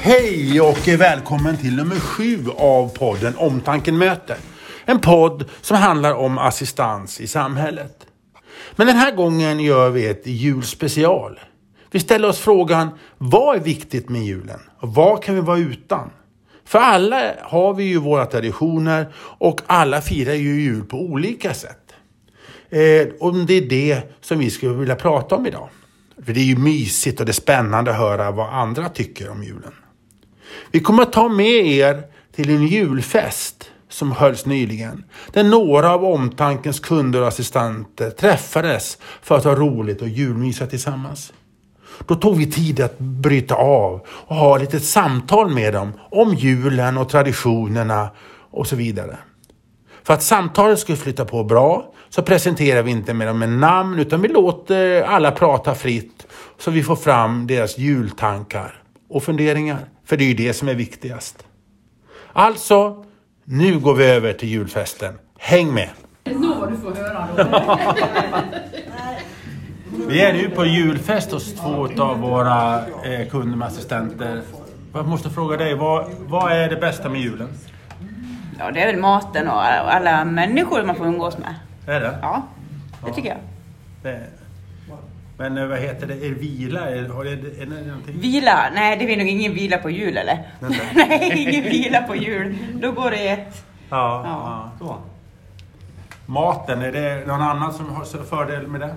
Hej och välkommen till nummer sju av podden Omtanken möter. En podd som handlar om assistans i samhället. Men den här gången gör vi ett julspecial. Vi ställer oss frågan, vad är viktigt med julen? Och vad kan vi vara utan? För alla har vi ju våra traditioner och alla firar ju jul på olika sätt. Eh, och det är det som vi skulle vilja prata om idag. För det är ju mysigt och det är spännande att höra vad andra tycker om julen. Vi kommer att ta med er till en julfest som hölls nyligen. Där några av Omtankens kunder och assistenter träffades för att ha roligt och julmysa tillsammans. Då tog vi tid att bryta av och ha lite samtal med dem om julen och traditionerna och så vidare. För att samtalet skulle flytta på bra så presenterar vi inte med dem med namn utan vi låter alla prata fritt så vi får fram deras jultankar och funderingar. För det är ju det som är viktigast. Alltså, nu går vi över till julfesten. Häng med! Nå vad du får höra då. Vi är nu på julfest hos två av våra eh, kunder med assistenter. Jag måste fråga dig, vad, vad är det bästa med julen? Ja, det är väl maten och alla människor man får umgås med. Är det? Ja, det tycker jag. Det- Men eh, vad heter det, är det vila? Är, har det, är det någonting? Vila? Nej, det blir nog ingen vila på jul eller? Nej. Nej, ingen vila på jul. Då går det ett. Ja, Ja. ja. Maten, är det någon annan som har så- fördel med det?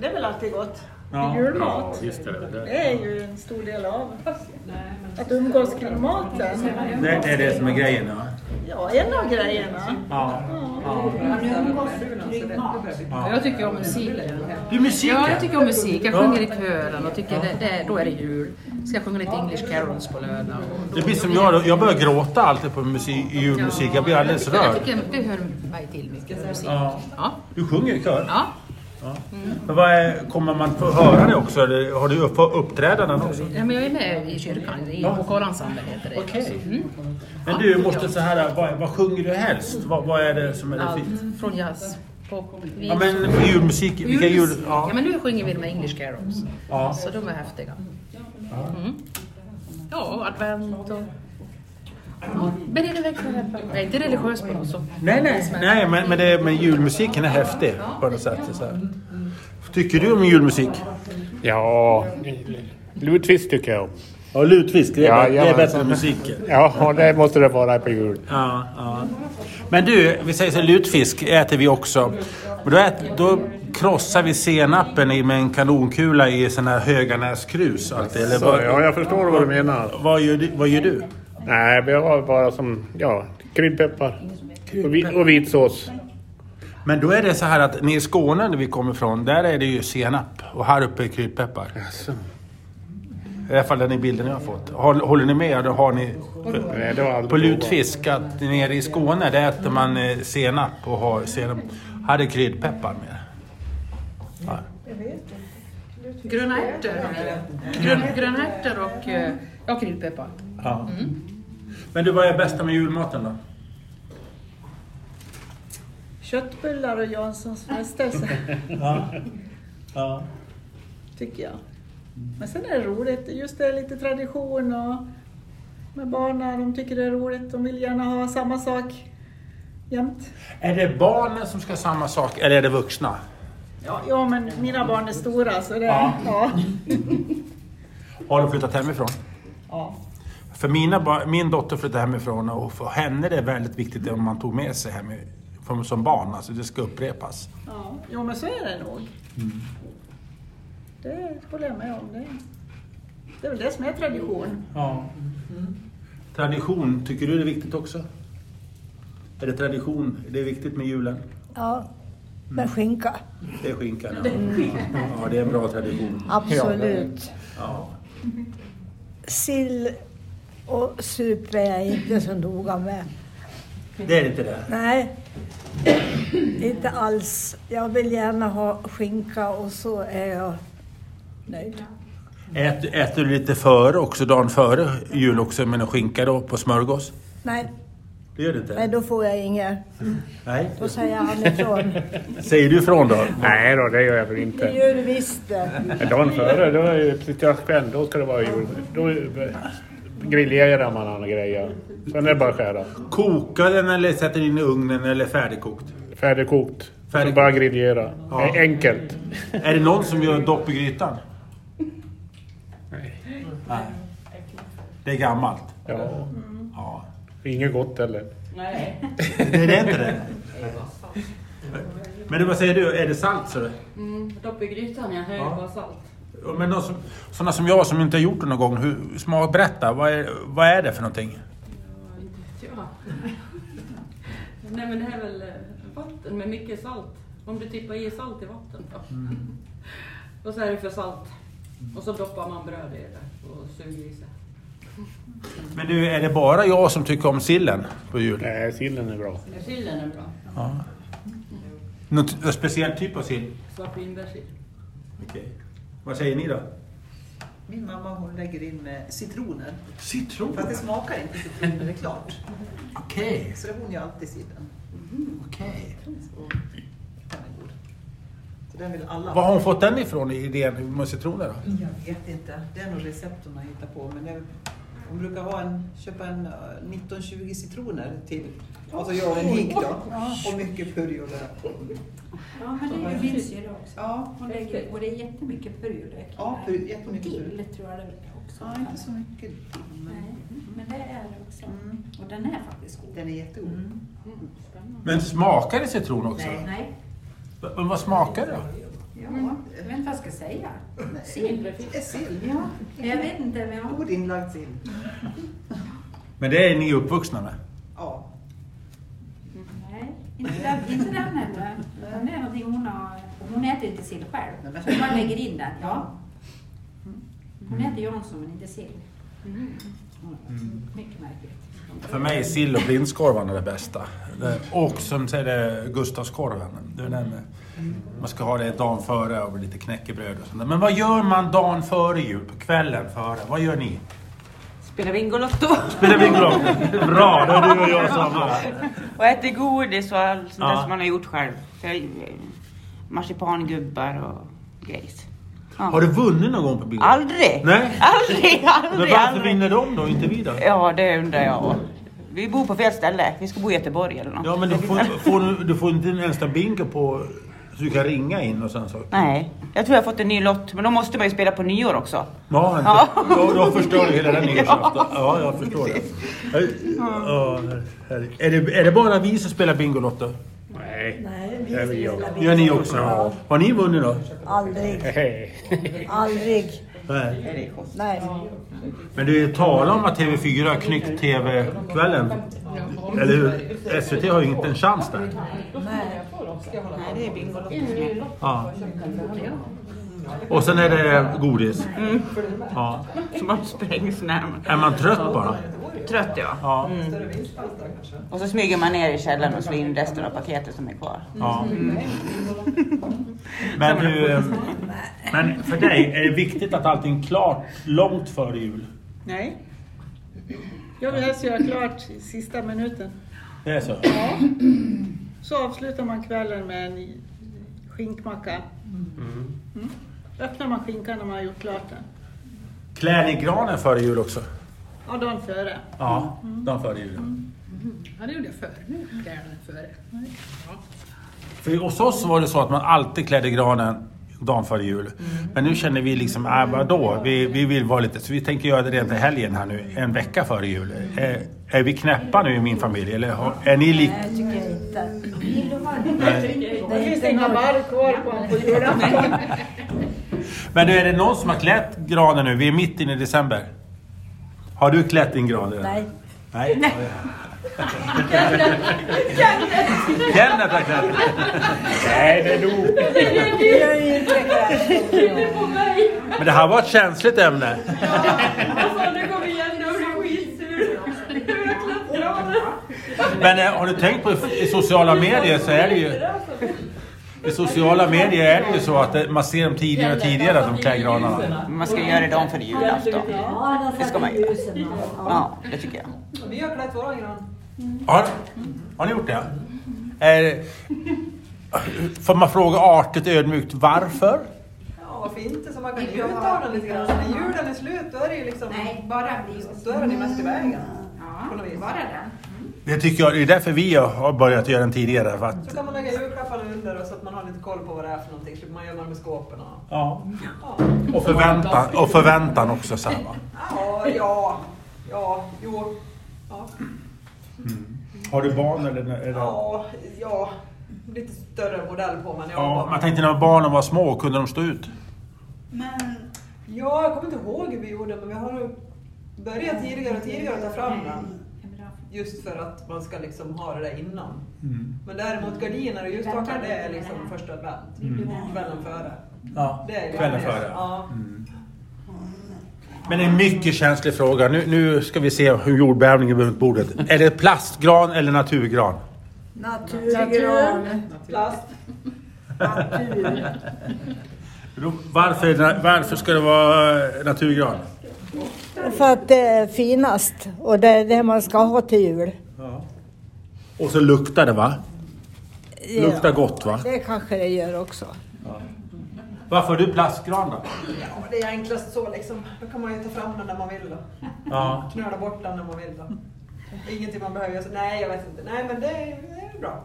Det är väl alltid gott. Ja. Julmat. Just det, det. Det är ju en stor del av att umgås kring maten. Det är det som är grejen, ja. Ja, en av grejerna. ja. Jag tycker om musik. Du, musiken! Ja, jag tycker om musik. Jag sjunger i kören och tycker det, det, då är det jul. Ska jag sjunga lite English carols på lördag. Det blir som jag, då. jag börjar gråta alltid på musik, julmusik. Jag blir alldeles Ja, jag rörd. tycker det hör mig till mycket musik. Ja. Ja. Du sjunger i kör. ja. Men vad är, kommer man få höra det också? Eller har du upp, uppträdanden också? Ja, men jag är med i kyrkan, i vokalensemble heter det. Mm. Okej. Men du, måste så här, vad, vad sjunger du helst? Vad, vad är det som är det Allt fint? från jazz, pop, vin. Ja, men julmusik, vilka jul... Julmusik. Ja. Ja, men nu sjunger vi de här English carols. Ja. Så de är häftiga. Mm. Ja, advent och... Ja, men är det verkligen... Jag är inte religiös på något sätt. Nej, nej. Nej, men, men, det, men julmusiken är häftig på något sätt. Så här. Tycker du om julmusik? Ja, Lutfisk tycker jag om. Ja, lutfisk. Det är bä- det är bättre än musiken. Ja, det måste det vara på jul. Ja, ja. Men du, vi säger så här, lutfisk äter vi också. Och då, ät, då krossar vi senapen i med en kanonkula i sån här Höganäskrus. Alltid, eller Så, vad, ja, jag förstår vad du menar. vad, gör du, vad gör du? Nej, vi har bara som ja, kryddpeppar och, vi, och vitsås. Men då är det så här att nere i Skåne, där vi kommer ifrån, där är det ju senap. Och här uppe är kryddpeppar. I alla fall den i bilden jag har fått. Håll- Håller ni med? Då har ni Nej, det har jag aldrig På provat. lutfisk, att nere i Skåne där äter man eh, senap och har senap. Här är kryddpeppar med. Ja. Gröna ärtor har vi. Grön, gröna ärtor och eh, ja, kryddpeppar. Ja. Mm. Men du, vad är bästa med julmaten då? Köttbullar och Janssons frestelse, Ja. Ja. tycker jag. Men sen är det roligt, just det är lite tradition och med barnen, de tycker det är roligt, de vill gärna ha samma sak jämt. Är det barnen som ska ha samma sak eller är det vuxna? Ja, ja, men mina barn är stora så det... Ja. Ja. ja. Har de flyttat hemifrån? ja. För mina, ba- min dotter flyttade hemifrån och för henne är det väldigt viktigt om man tog med sig hem i- från- som barn. Alltså det ska upprepas. Jo, men så är det nog. Det håller jag med om. Det, det är väl det som är tradition. Ja. Tradition, tycker du det är viktigt också? Är det tradition, är det viktigt med julen? Ja, med skinka. Det är skinkan, ja. ja. Det är en bra tradition. Absolut. Ja. Sill och sup är jag inte så noga med. Det är inte det? Nej, inte alls. Jag vill gärna ha skinka och så är jag nöjd. Äter, äter du lite före också, dagen före jul också, men en skinka då på smörgås? Nej, Det gör du inte? Nej, då får jag inget. Nej. Då säger han ifrån. Säger du ifrån då? Nej då, det gör jag väl Det inte. gör du visst det. Dagen före, då är det precis jag själv. Då ska det vara jul. Då grillerar man andra grejer. Sen är det bara att skära. Koka den eller sätter den in i ugnen eller färdigkokt? Färdigkokt. Sen Färdigkokt. bara grillera. Ja. Eh, Enkelt. Är det någon som gör dopp i grytan? Nej. Nej. Det är gammalt. Ja. Ja. Inget gott heller. Nej. Nej, det är inte det. Men det, vad säger du, är det salt så det? Mm, dopp i grytan, jag höjer bara salt. Men de som, sådana som jag som inte har gjort det någon gång, hur, smak, berätta, vad är, vad är det för någonting? Ja, inte vet jag. Nej men det här är väl eh, vatten med mycket salt. Om du tippar i salt i vatten då. Mm. Och så är det för salt. Och så doppar man bröd i det och suger i sig. Men du, är det bara jag som tycker om sillen på jul? Nej, sillen är bra. Sillen är bra. Någon t- speciell typ av sill? Svartvinbärssill. Okej. Vad säger ni då? Min mamma hon lägger in eh, citroner. Citron? Fast det smakar inte citron när det är klart. Okej, Så hon gör alltid sillen. okej. Och den är god. Så den vill alla Var har ha. hon fått den ifrån, idén med citroner då? Jag vet inte. Det är nog recept hon har hittat på. Men det, hon brukar ha en, köpa en eh, 19-20 citroner till. Och så gör en hink då. Och mycket purjo där. Ja, men det är ju min syrra också. Ja, Hon lägger, och det är jättemycket purjolök. i ja det purjo, här. jättemycket purjo. Dill tror jag det är också. Ja, inte så mycket dill. Nej, men men det är det också. Mm. Och den är faktiskt god. Mm. Den är jättegod. Men smakar det citron också? Nej, Va- Men vad smakar det då? ja. jag vet inte vad jag ska säga. Nej. Sill. Det är sill. Ja, jag vet inte. Men jag... God inlagd sill. Men det är ni uppvuxna med? Ja. Nej, inte den, inte den heller. Den är någonting hon har... och Hon äter inte sill själv. Nej, men- Hon bara lägger in den. Ja. Mm. Hon äter Jansson men inte sill. Mm. Mycket märkligt. För mig är sill och prinskorvarna det bästa. Det- Och som säger det Gustavskorven. Det är den med. Man ska ha det dagen före och lite knäckebröd och sånt där. Men vad gör man dagen före jul? På kvällen före? Vad gör ni? Spelar Bingolotto. Spelar bingolotto. Bra, då är du och jag samma. Och äter godis och allt sånt Ja. där som man har gjort själv. Så jag- Marsipangubbar och grejs. Ja. Har du vunnit någon gång på Bingolotto? Aldrig! Nej. Aldrig, Men aldrig, varför aldrig. vinner de då och inte vi då? Ja, det undrar jag Vi bor på fel ställe. Vi ska bo i Göteborg eller något. Ja, men du får, får, du- du får inte en enda bingo på... Så du kan ringa in och sen så... Nej, jag tror jag har fått en ny lott. Men då måste man ju spela på nyår också. Ja, Ja. inte. Då, då förstör du hela den nyårsafton. Ja, jag förstår det. Ja, herre- är det. Är det bara vi som spelar Bingolotto? Nej. Nej, Det är väl vi jag. spelar Gör ni också? Ja. Har ni vunnit då? Aldrig, Hej. aldrig. Nej. Nej. Men du, tala om att TV4 har knyckt TV-kvällen. Eller hur? SVT har ju inte en chans där. Nej. Nej, det är Bingolotto. Ja. Och sen är det godis. Ja. Som man sprängs när Är man trött bara? Trött ja. Ja. Och så smyger man ner i källaren och slår in resten av paketet som är kvar. ja. Mm. Men du, eh, men för dig är det viktigt att allting är klart långt före jul. Nej. Jag vill helst göra klart i sista minuten. Det är så? Så avslutar man kvällen med en skinkmacka. Mm. Öppnar man skinkan när man har gjort klart den. Klär ni granen före jul också? Ja, dagen före. Ja, dagen före jul. Ja, det gjorde jag förr. Nu klär jag den före. För hos oss var det så att man alltid klädde granen dagen före jul. Men nu känner vi liksom, äh, vadå? Vi, vi vill vara lite, så vi tänker göra det redan till helgen här nu, en vecka före jul. Är, är vi knäppa nu i min familj eller har, är ni lik? Nej, tycker jag inte. Det finns inga barr kvar på honom på julafton. Men du, är det någon som har klätt granen nu? Vi är mitt inne i december. Har du klätt din gran redan? Nej. Nej. Nej. Kenneth har klätt den. Nej, det är nog. Vi gör ju inte det. Men det här var ett känsligt ämne. Nu kommer igen, nu blir jag skitsur. Men eh, har du tänkt på i- i sociala medier så är det ju... I sociala medier är det ju så att det, man ser dem tidigare och tidigare, de klär granarna. Men man ska göra det dagen före julafton. Ja, han har Det ska satt man i göra. ljusen. Ja. Ja, det tycker jag. Vi har klätt våran gran. Har, har ni gjort det? Eh, får man fråga artigt ödmjukt varför? Ja, varför inte? Så man kan njuta av den lite grann. När julen är slut då är det ju liksom... Nej, bara bli Då är den ju mest i vägen. På något Ja, vis. bara den. Det tycker jag, det är därför vi har börjat göra den tidigare. För Så att, kan man lägga julklapparna under och så att man har lite koll på vad det är för någonting. Typ man gömmer med skåpen och... ja. Ja, och, förväntan, och förväntan också. Så här, va? ja, ja, ja, jo. Ja, Har du barn eller? eller? ja, ja. Lite större modell på men Ja, man jag... tänkte när barnen var små, kunde de stå ut? Men Ja, jag kommer inte ihåg hur vi gjorde men vi har ju börjat tidigare och tidigare att ta fram den. En bra fråga. Just för att man ska liksom ha det där innan. Mm. Men däremot gardiner och ljusstakar det är liksom första advent. Mm. Kvällen före. Ja, Det är ju- kvällen före. Mm. Ja. Men en mycket känslig fråga. Nu, nu ska vi se hur jordbävningen blir runt bordet. Är det plastgran eller naturgran? Naturgran. Plast. Natur. Då- Varför, är det- varför ska det vara eh, naturgran? För att det är finast och det är det man ska ha till jul. Och så luktar det va? Ja, Luktar gott va? Det kanske det gör också. Varför har du plastgran då? Ja, det är enklast så liksom. Då kan man ju ta fram den när man vill då. Ja. Knöla bort den när man vill då. Ingenting man behöver göra så. Nej, jag vet inte. Nej, men det är, det är bra.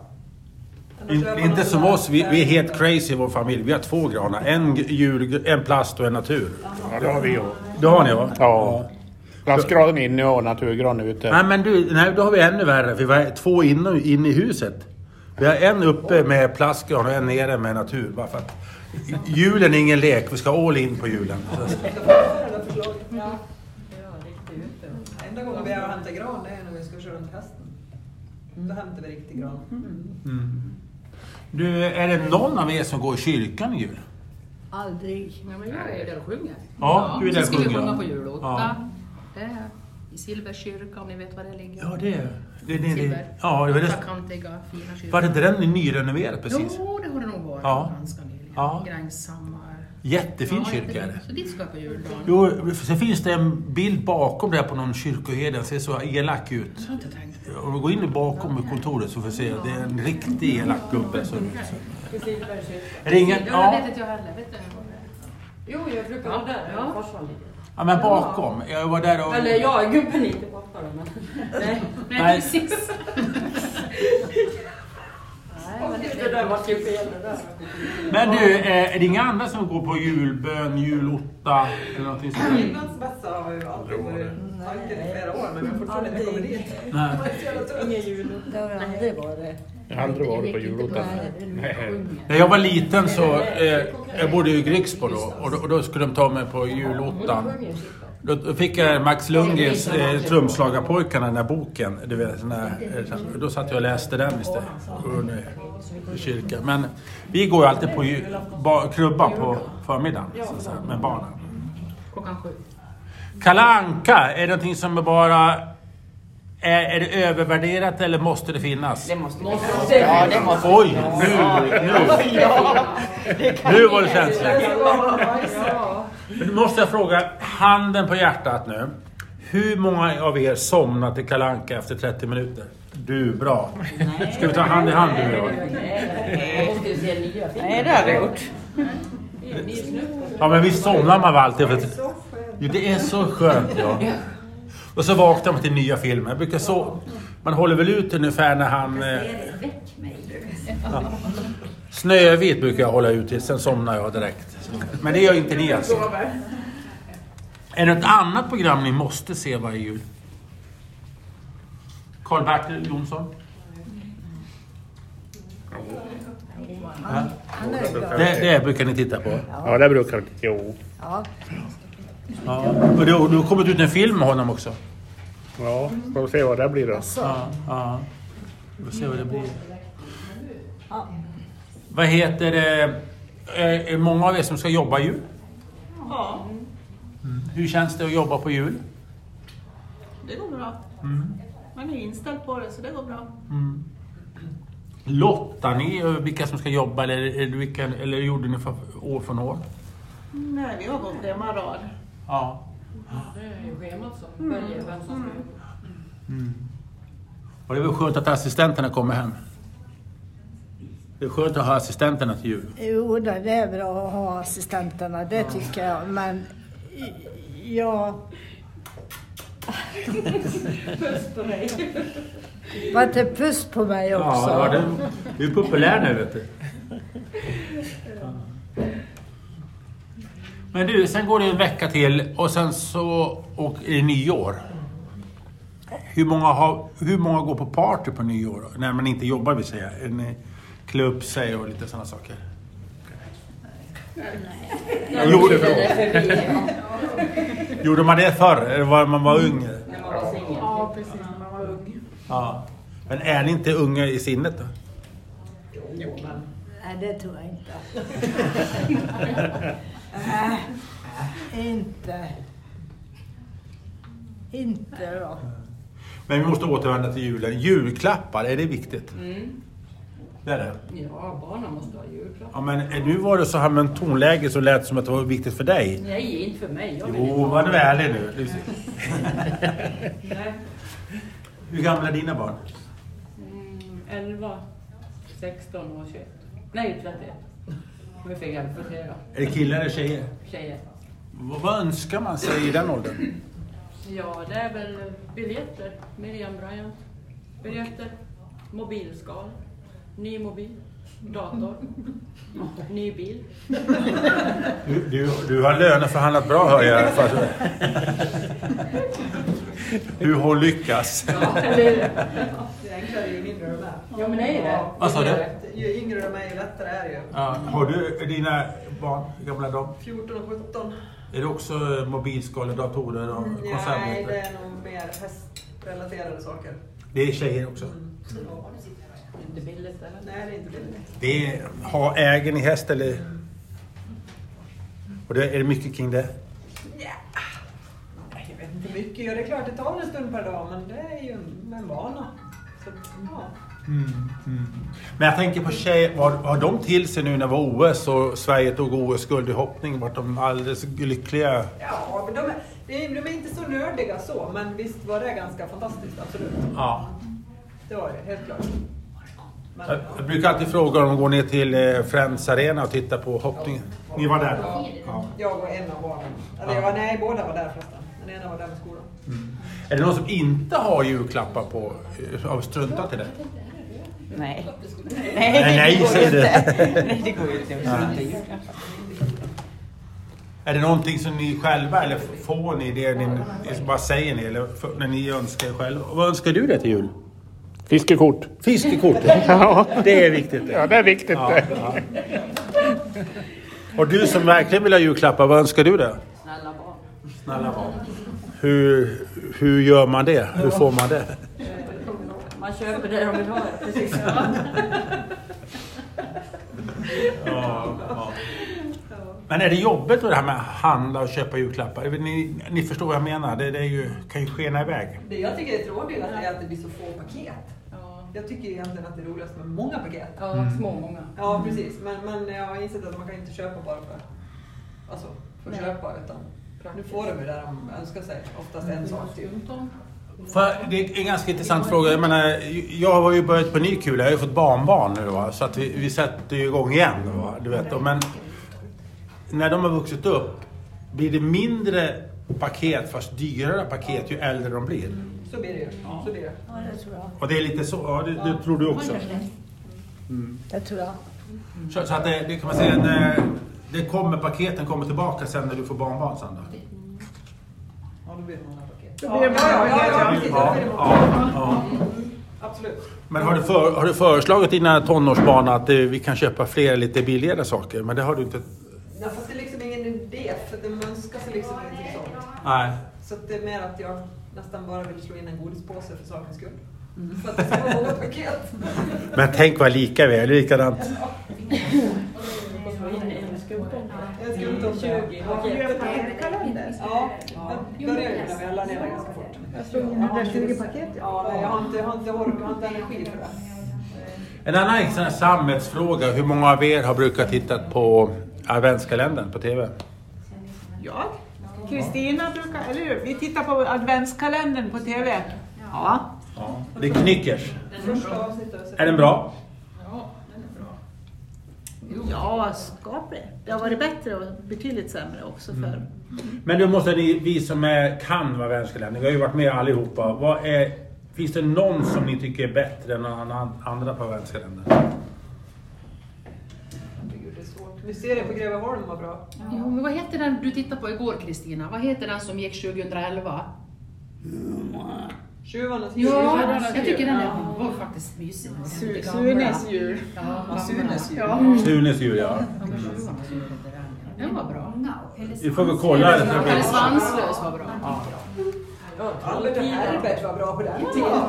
Annars In, gör man inte något som sånt oss, vi, där. vi är helt crazy i vår familj. Vi har två granar. En, g- jul, en plast och en natur. Ja, det har vi gjort. Det har ni va? Ja. Plastgranen inne och naturgran ute. Nej men du, nej, då har vi ännu värre. För vi har två inne, inne i huset. Vi har en uppe med plastgran och en nere med natur. Bara för att julen är ingen lek. Vi ska all in på julen. Så- Det var det där förslaget. Ja. Enda gången vi har hämtat gran det är när vi ska köra runt hästen. Då hämtar vi riktig gran. Du, är det någon av er som går i kyrkan i jul? Aldrig. Ja, men jag är där och sjunger. Ja, du är där och vi skulle sjunger. sjunga på julåtta. Ja. Eh, I Silverkyrka, om ni vet var det ligger. Ja, det är det. det, det Silver. ja, det var det. Fyrkantiga, fina kyrkor. Var det inte den nyrenoverad precis? Jo, det har det nog varit Ja. ganska nyligen. Ja. Gränshammar. Jättefin Ja, kyrka är det. jättefint. Så dit ska jag på juldagen. Jo, sen finns det en bild bakom där på någon kyrkoherde. Den ser så elak ut. Jag har inte tänkt. Om du går in bakom kontoret så får du se. Det är en riktig elak gubbe. Som, Ring en, Ja, Det vet ja, inte jag heller. Vet du vad det är? Jo, jag brukar vara där. Ja. Farsan ligger. ja, men bakom. Jag var där och... Eller jag, gubben är inte pappa då. Men... Nej. Nej. Nej, precis. Nej, men det- Det där var ju fel det där. Men du, eh, är det inga andra som går på julbön, julotta eller någonting sånt? Midnattsmässa har ju alltid varit tanken i flera år men vi har fortfarande inte kommit dit. Nej. Ingen jul. Det har jag aldrig varit. Jag har aldrig varit på Jag gick inte julottan. där. Nej. När jag var liten så, eh, jag bodde i Grycksbo då och, då och då skulle de ta mig på julottan. Då- Då fick jag Max Lundgrens eh, Trumslagarpojkarna, den där boken. Du vet, den där, eh, så- då satt jag och läste den istället. under- I kyrkan. Men vi går ju alltid på ju- ba, krubba på förmiddagen så att säga, med barnen. Klockan sju. Kalle Anka, är det någonting som är bara... Är, är det övervärderat eller måste det finnas? det måste vi. Ja, det måste vi. Oj, nu, nu. Nu var det känsligt. Ja. Men nu måste jag fråga, handen på hjärtat nu. Hur många av er somnar till Kalle Anka efter 30 minuter? Du, bra. Ska vi ta hand i hand du och jag? Jag måste ju se nya filmer. Nej, det har vi gjort. Ja, men visst somnar man väl alltid efter... Jo, det är så skönt ja. Och så vaknar man till nya filmer. Jag brukar så... Man håller väl ut ungefär när han... Eh, Väck mig. Snövit brukar jag hålla ut till, sen somnar jag direkt. Men det gör inte ni alltså? Är det något annat program ni måste se varje jul? Karl-Bertil Jonsson? Ja. Det, det brukar ni titta på? Ja, det brukar vi. Jo. Ja. Ja. Och det, och det har kommit ut en film med honom också? Ja, får vi se vad det blir då. Ja. ja. Vi får se vad det blir. Vad heter det? Eh, Är är många av er som ska jobba jul? Ja, Hur känns det att jobba på jul? det går bra. Mm. Man är inställd på det så det går bra. Lottar ni över vilka som ska jobba eller, eller, vilka, eller gjorde ni för, år från år? Nej, vi har gått schemarad. Ja. Det är ju schemat som följer vem som ska jobba. Och det är väl skönt att assistenterna kommer hem. Det är skönt att ha assistenterna till jul. Jo, då, det är bra att ha assistenterna, det tycker jag. Men i- jag... Puss på dig. Var det puss på mig också? Ja, det, du är populär nu vet du. Men du, sen går det en vecka till och sen så och är det nyår. Hur många, har, hur många går på party på nyår? då? När man inte jobbar vill säga. En, eh, klä upp sig och lite sådana saker. Jo, Gjorde man det förr? Eller var man var ung? När man var singel. Ja, precis, när man var ung. Ja. Men är ni inte unga i sinnet då? Nej, det tror jag inte. Nej, inte. Inte då. Men vi måste återvända till julen. Julklappar, är det viktigt? Mm. Det är det. Ja, barnen måste ha julklapp. Ja, men eh, nu var det så här med en tonläge så lät det som att det var viktigt för dig. Nej, inte för mig. Jag vill inte Jo, ha var det. du ärlig nu. Lucy. Nej. Hur gamla är dina barn? Mm, 11, 16 och 21. Nej, 31. Vi fick adoptera Är det killar eller tjejer? tjejer. Vad, vad önskar man sig i den åldern? Ja, det är väl biljetter. Miriam Bryant. Biljetter. Mobilskal. Ny mobil. Dator. Ny bil. Du, du, du har löneförhandlat bra hör jag. i alla fall. Du har lyckats. Det enklare ju mindre de är. Ja, men det är det. Vad sa du? Ju yngre de är ju lättare är det ju. Ja, har du dina barn, hur gamla är de? 14 och 17. Är det också eh, mobilskal, datorer och Nej, Mm, det konservrätter? är nog mer hästrelaterade saker. Det är tjejer också. Ja. Inte billigt eller? Nej, det är inte billigt. Det är, ha, äger ni häst eller? Och det, är det mycket kring det? Nej, Jag vet inte hur mycket. Ja, det är klart, det tar en stund per dag, men det är ju en vana. Så, ja. Mm, Men jag tänker på tjejer, vad har de till sig nu när det var OS och Sverige tog OS-guld i hoppning? Vart de alldeles lyckliga? ja, men de är, de är- de är inte så nördiga så, men visst var det ganska fantastiskt, absolut. Ja. Det var det, helt klart. Men, Jag, jag brukar alltid fråga om de går ner till eh, Friends Arena och tittar på hoppningen. Ni var där? ja, Ja. jag och en av barnen. Eller Ja. ja. nej, båda var där förresten. Den ena var där med skolan. Är det någon som inte har julklappar på? eh, Har struntat i det? Nej. Nej, Nej, nej, det går säger du. inte. Nej, det går ju inte. Vi får inte göra det. Är det någonting som ni själva, eller f- får ni det? Ni, vad säger ni? Eller f- när ni önskar er själva? Och Vad önskar du dig till jul? Fiskekort. Fiskekort! Ja, Det är viktigt det. ja det är viktigt det. Och du som verkligen vill ha julklappar, vad önskar du dig? Snälla barn. Snälla barn. Hur, hur gör man det? Hur får man det? Man köper det de vill ha. ja, Precis. Men är det jobbigt med det här med att handla och köpa julklappar? Ni, ni förstår vad jag menar, det, det är ju, kan ju skena iväg. Det jag tycker är tråkigt att det är att det blir så få paket. Ja, Jag tycker egentligen att det är roligast med många paket. Mm. ja små många. Ja, precis. Men, men jag har insett att man kan inte köpa bara för, alltså, för att Nej. köpa. Utan nu får de ju det de önskar sig. Oftast en sak. Typ. För det är en ganska intressant fråga. Jag, menar, jag har ju börjat på ny kula. Jag har ju fått barnbarn nu. Va? Så att vi, vi sätter ju igång igen. Va? Du vet. Och Men när de har vuxit upp blir det mindre paket fast dyrare paket ju äldre de blir. Så blir det ju. Så blir det. Ja, det tror jag. Och det är lite så. Ja, det, det tror du också. Det tror jag. Så, så att det, det kan man säga. Det, det kommer, paketen kommer tillbaka sen när du får barnbarn sen då. Ja, då blir det många paket. Då blir det många ja, ja, ja, paket. precis. Då Ja, blir det många. ja, ja. Absolut. Men har du, för, har du föreslagit dina tonårsbarn att eh, vi kan köpa fler lite billigare saker? Men det har du inte... Nej, fast det är liksom ingen idé. För att de önskar sig liksom ingenting sånt. Nej. Så att det är mer att jag nästan bara vill slå in en godispåse för sakens skull. För att det ska vara många paket. Men tänk vad lika vi är, eller likadant. Och så in i en skumtomte. Jag ska inte om 20 Ja, paket. Ja, jag börjar ju med det. Jag lär ner mig ganska fort. Jag slog in 120 paket. Ja, nej, jag har inte, jag har inte ork, jag har inte energi för det. En annan sån här samhällsfråga, hur många av er har brukat tittat på adventskalendern på TV? Jag? Kristina brukar, eller hur? Vi tittar på adventskalendern på TV. Ja. Ja. Det är Knyckers. Första avsnittet har jag sett. Är den bra? Ja, den är bra. Ja, skaplig. Det har varit bättre och betydligt sämre också förr. Mm. Men nu måste ni, vi som är, kan vara världsländer, vi har ju varit med allihopa. Vad är, finns det någon som ni tycker är bättre än an- andra på världsliga länder? Herregud, det är svårt. Vi ser det på Greveholm var bra. Jo, men vad heter den du tittade på igår Kristina? Vad heter den som gick 2011? Tjuvarnas Ja, jul. jag tycker den är, var faktiskt mysig. Su- Sunes jul. Ja, Sunes jul. Ja. Sunes jul, ja. Mm. Den var bra. Vi får väl kolla. det. Pelle Svanslös var bra. Albert och Herbert var bra på den tiden.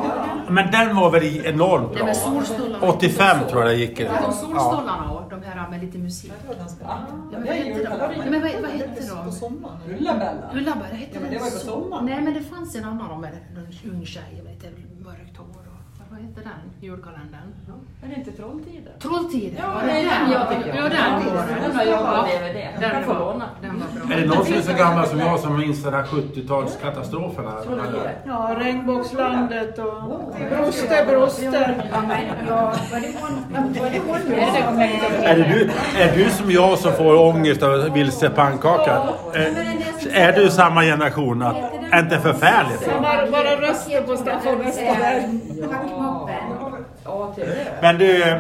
Men den var väl i- enormt Den bra? med solstolarna. 85 tror jag det gick i den. Ja, de solstolarna och de här med lite musik. Det var ganska... Ja, Ja, men vad hette de? Ja, men vad, vad hette de? Ulla-Bella. Ulla-Berg, hette Ja, men den det var ju på så? sommaren. Nej, men det fanns en annan om en, en ung tjej med lite mörkt hår. Och, vad hette den julkalendern? Är det inte Trolltider? Trolltider. Ja, var det är den jag tycker om. Ja, den var det. Den har jag Ja, med DVD. Den Jag får var- låna. Den var bra. Är det någon som är så gammal som jag som minns den här 70-talskatastroferna? Ja, regnbågslandet och broster, broster. Är det du, är du som jag som får ångest av vilse pannkaka? Är, är du samma generation? Att, är inte förfärligt? Bara, bara röster på Staffan Westerberg. Hackmoppen. Ja, till det. Men du, eh,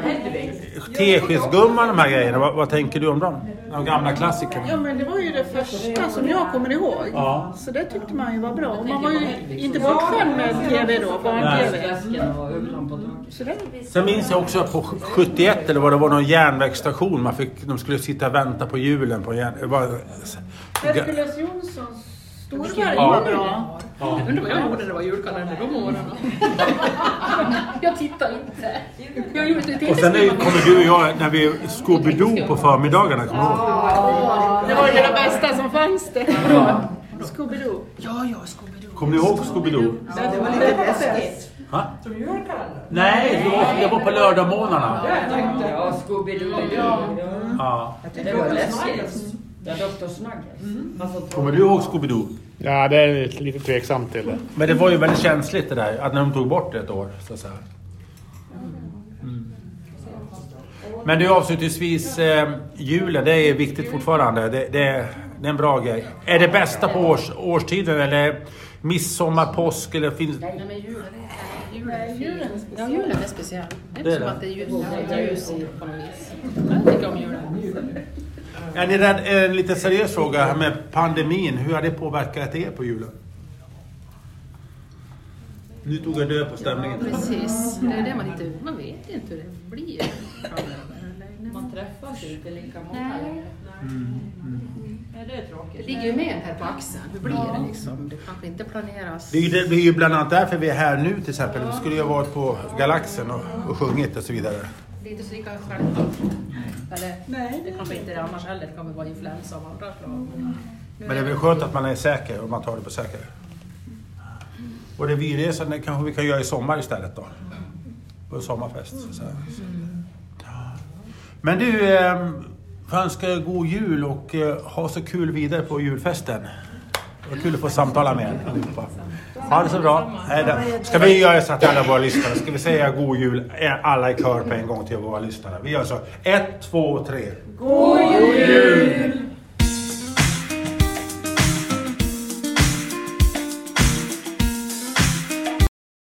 teskedsgumman de här grejerna, vad, vad tänker du om dem? De gamla Ja, klassikerna? men det var ju det första som jag kommer ihåg. Ja. Så det tyckte man ju var bra. Och man var ju inte bortskämd med TV då, barn-TV. Läsken och ugglan på taket. Så det, Sen minns jag också på 71 eller vad det var, någon järnvägsstation. Man fick, de skulle sitta och vänta på hjulen på järn... det var- Hercules Jonssons Storberg Ja. var bra. Jag undrar vad jag gjorde när det var julkalender de åren. jag tittar inte. Jag gjorde inte Och sen är, kommer du och jag, när vi Scooby-Doo på förmiddagarna, kommer du ihåg? Det var ju det bästa som fanns det. Scooby-Doo. Ja, ja, Scooby-Doo. Kommer ni ihåg Scooby-Doo? Det var lite läskigt. Va? Som julkalender. Nej, det var- det var på lördagmorgnarna. Jag tänkte... Ja, Scooby-Doo. Ja. Ja. Jag Det tyckte var om läskigt. Ja, Dr. Snuggles. Mm. Alltså, Kommer du ihåg Scooby-Doo? Ja, det är lite tveksamt till det. Men det var ju väldigt känsligt det där, att när de tog bort det ett år. Så att säga. Mm. Men du avslutningsvis, eh, julen, det är viktigt fortfarande. Det, det, är- det är en bra grej. Är det bästa på års, årstiden eller midsommar, påsk eller finns... Nej, men julen är- julen är fin. Ja, julen är speciell. Det är Det är inte som det. att det är ljus- det är ljus i på något vis. Jag tycker om julen. Är ni rädd, en lite seriös fråga här med pandemin. Hur har det påverkat er på julen? Nu tog jag död på stämningen. Precis, det är det man inte... Man vet ju inte hur det blir. Man träffas ju inte lika många Nej. längre. Mm, Nej, det är Det tråkigt. ligger ju med en här på axeln. Hur blir det liksom? Det kanske inte planeras. Det är, ju, det är ju bland annat därför vi är här nu till exempel. Vi skulle ju ha varit på Galaxen och, och sjungit och så vidare. Det är inte så lika självklart. Eller, Nej, det kanske inte är Mm. det annars heller. Det kommer vara influensa av andra slag. Men nu Men det är väl skönt att man är säker och man tar det på säker. Och det resan det kanske vi kan göra i sommar istället då. På en sommarfest. Så att säga. Men du, eh, får önska god jul och eh, ha så kul vidare på julfesten. Det var kul att få samtala med er allihopa. Ha det så bra. Hej då. Ska vi göra så att alla våra lyssnare, ska vi säga god jul eh, alla i kör på en gång till våra lyssnare? Vi gör så. Ett, två, tre. God jul!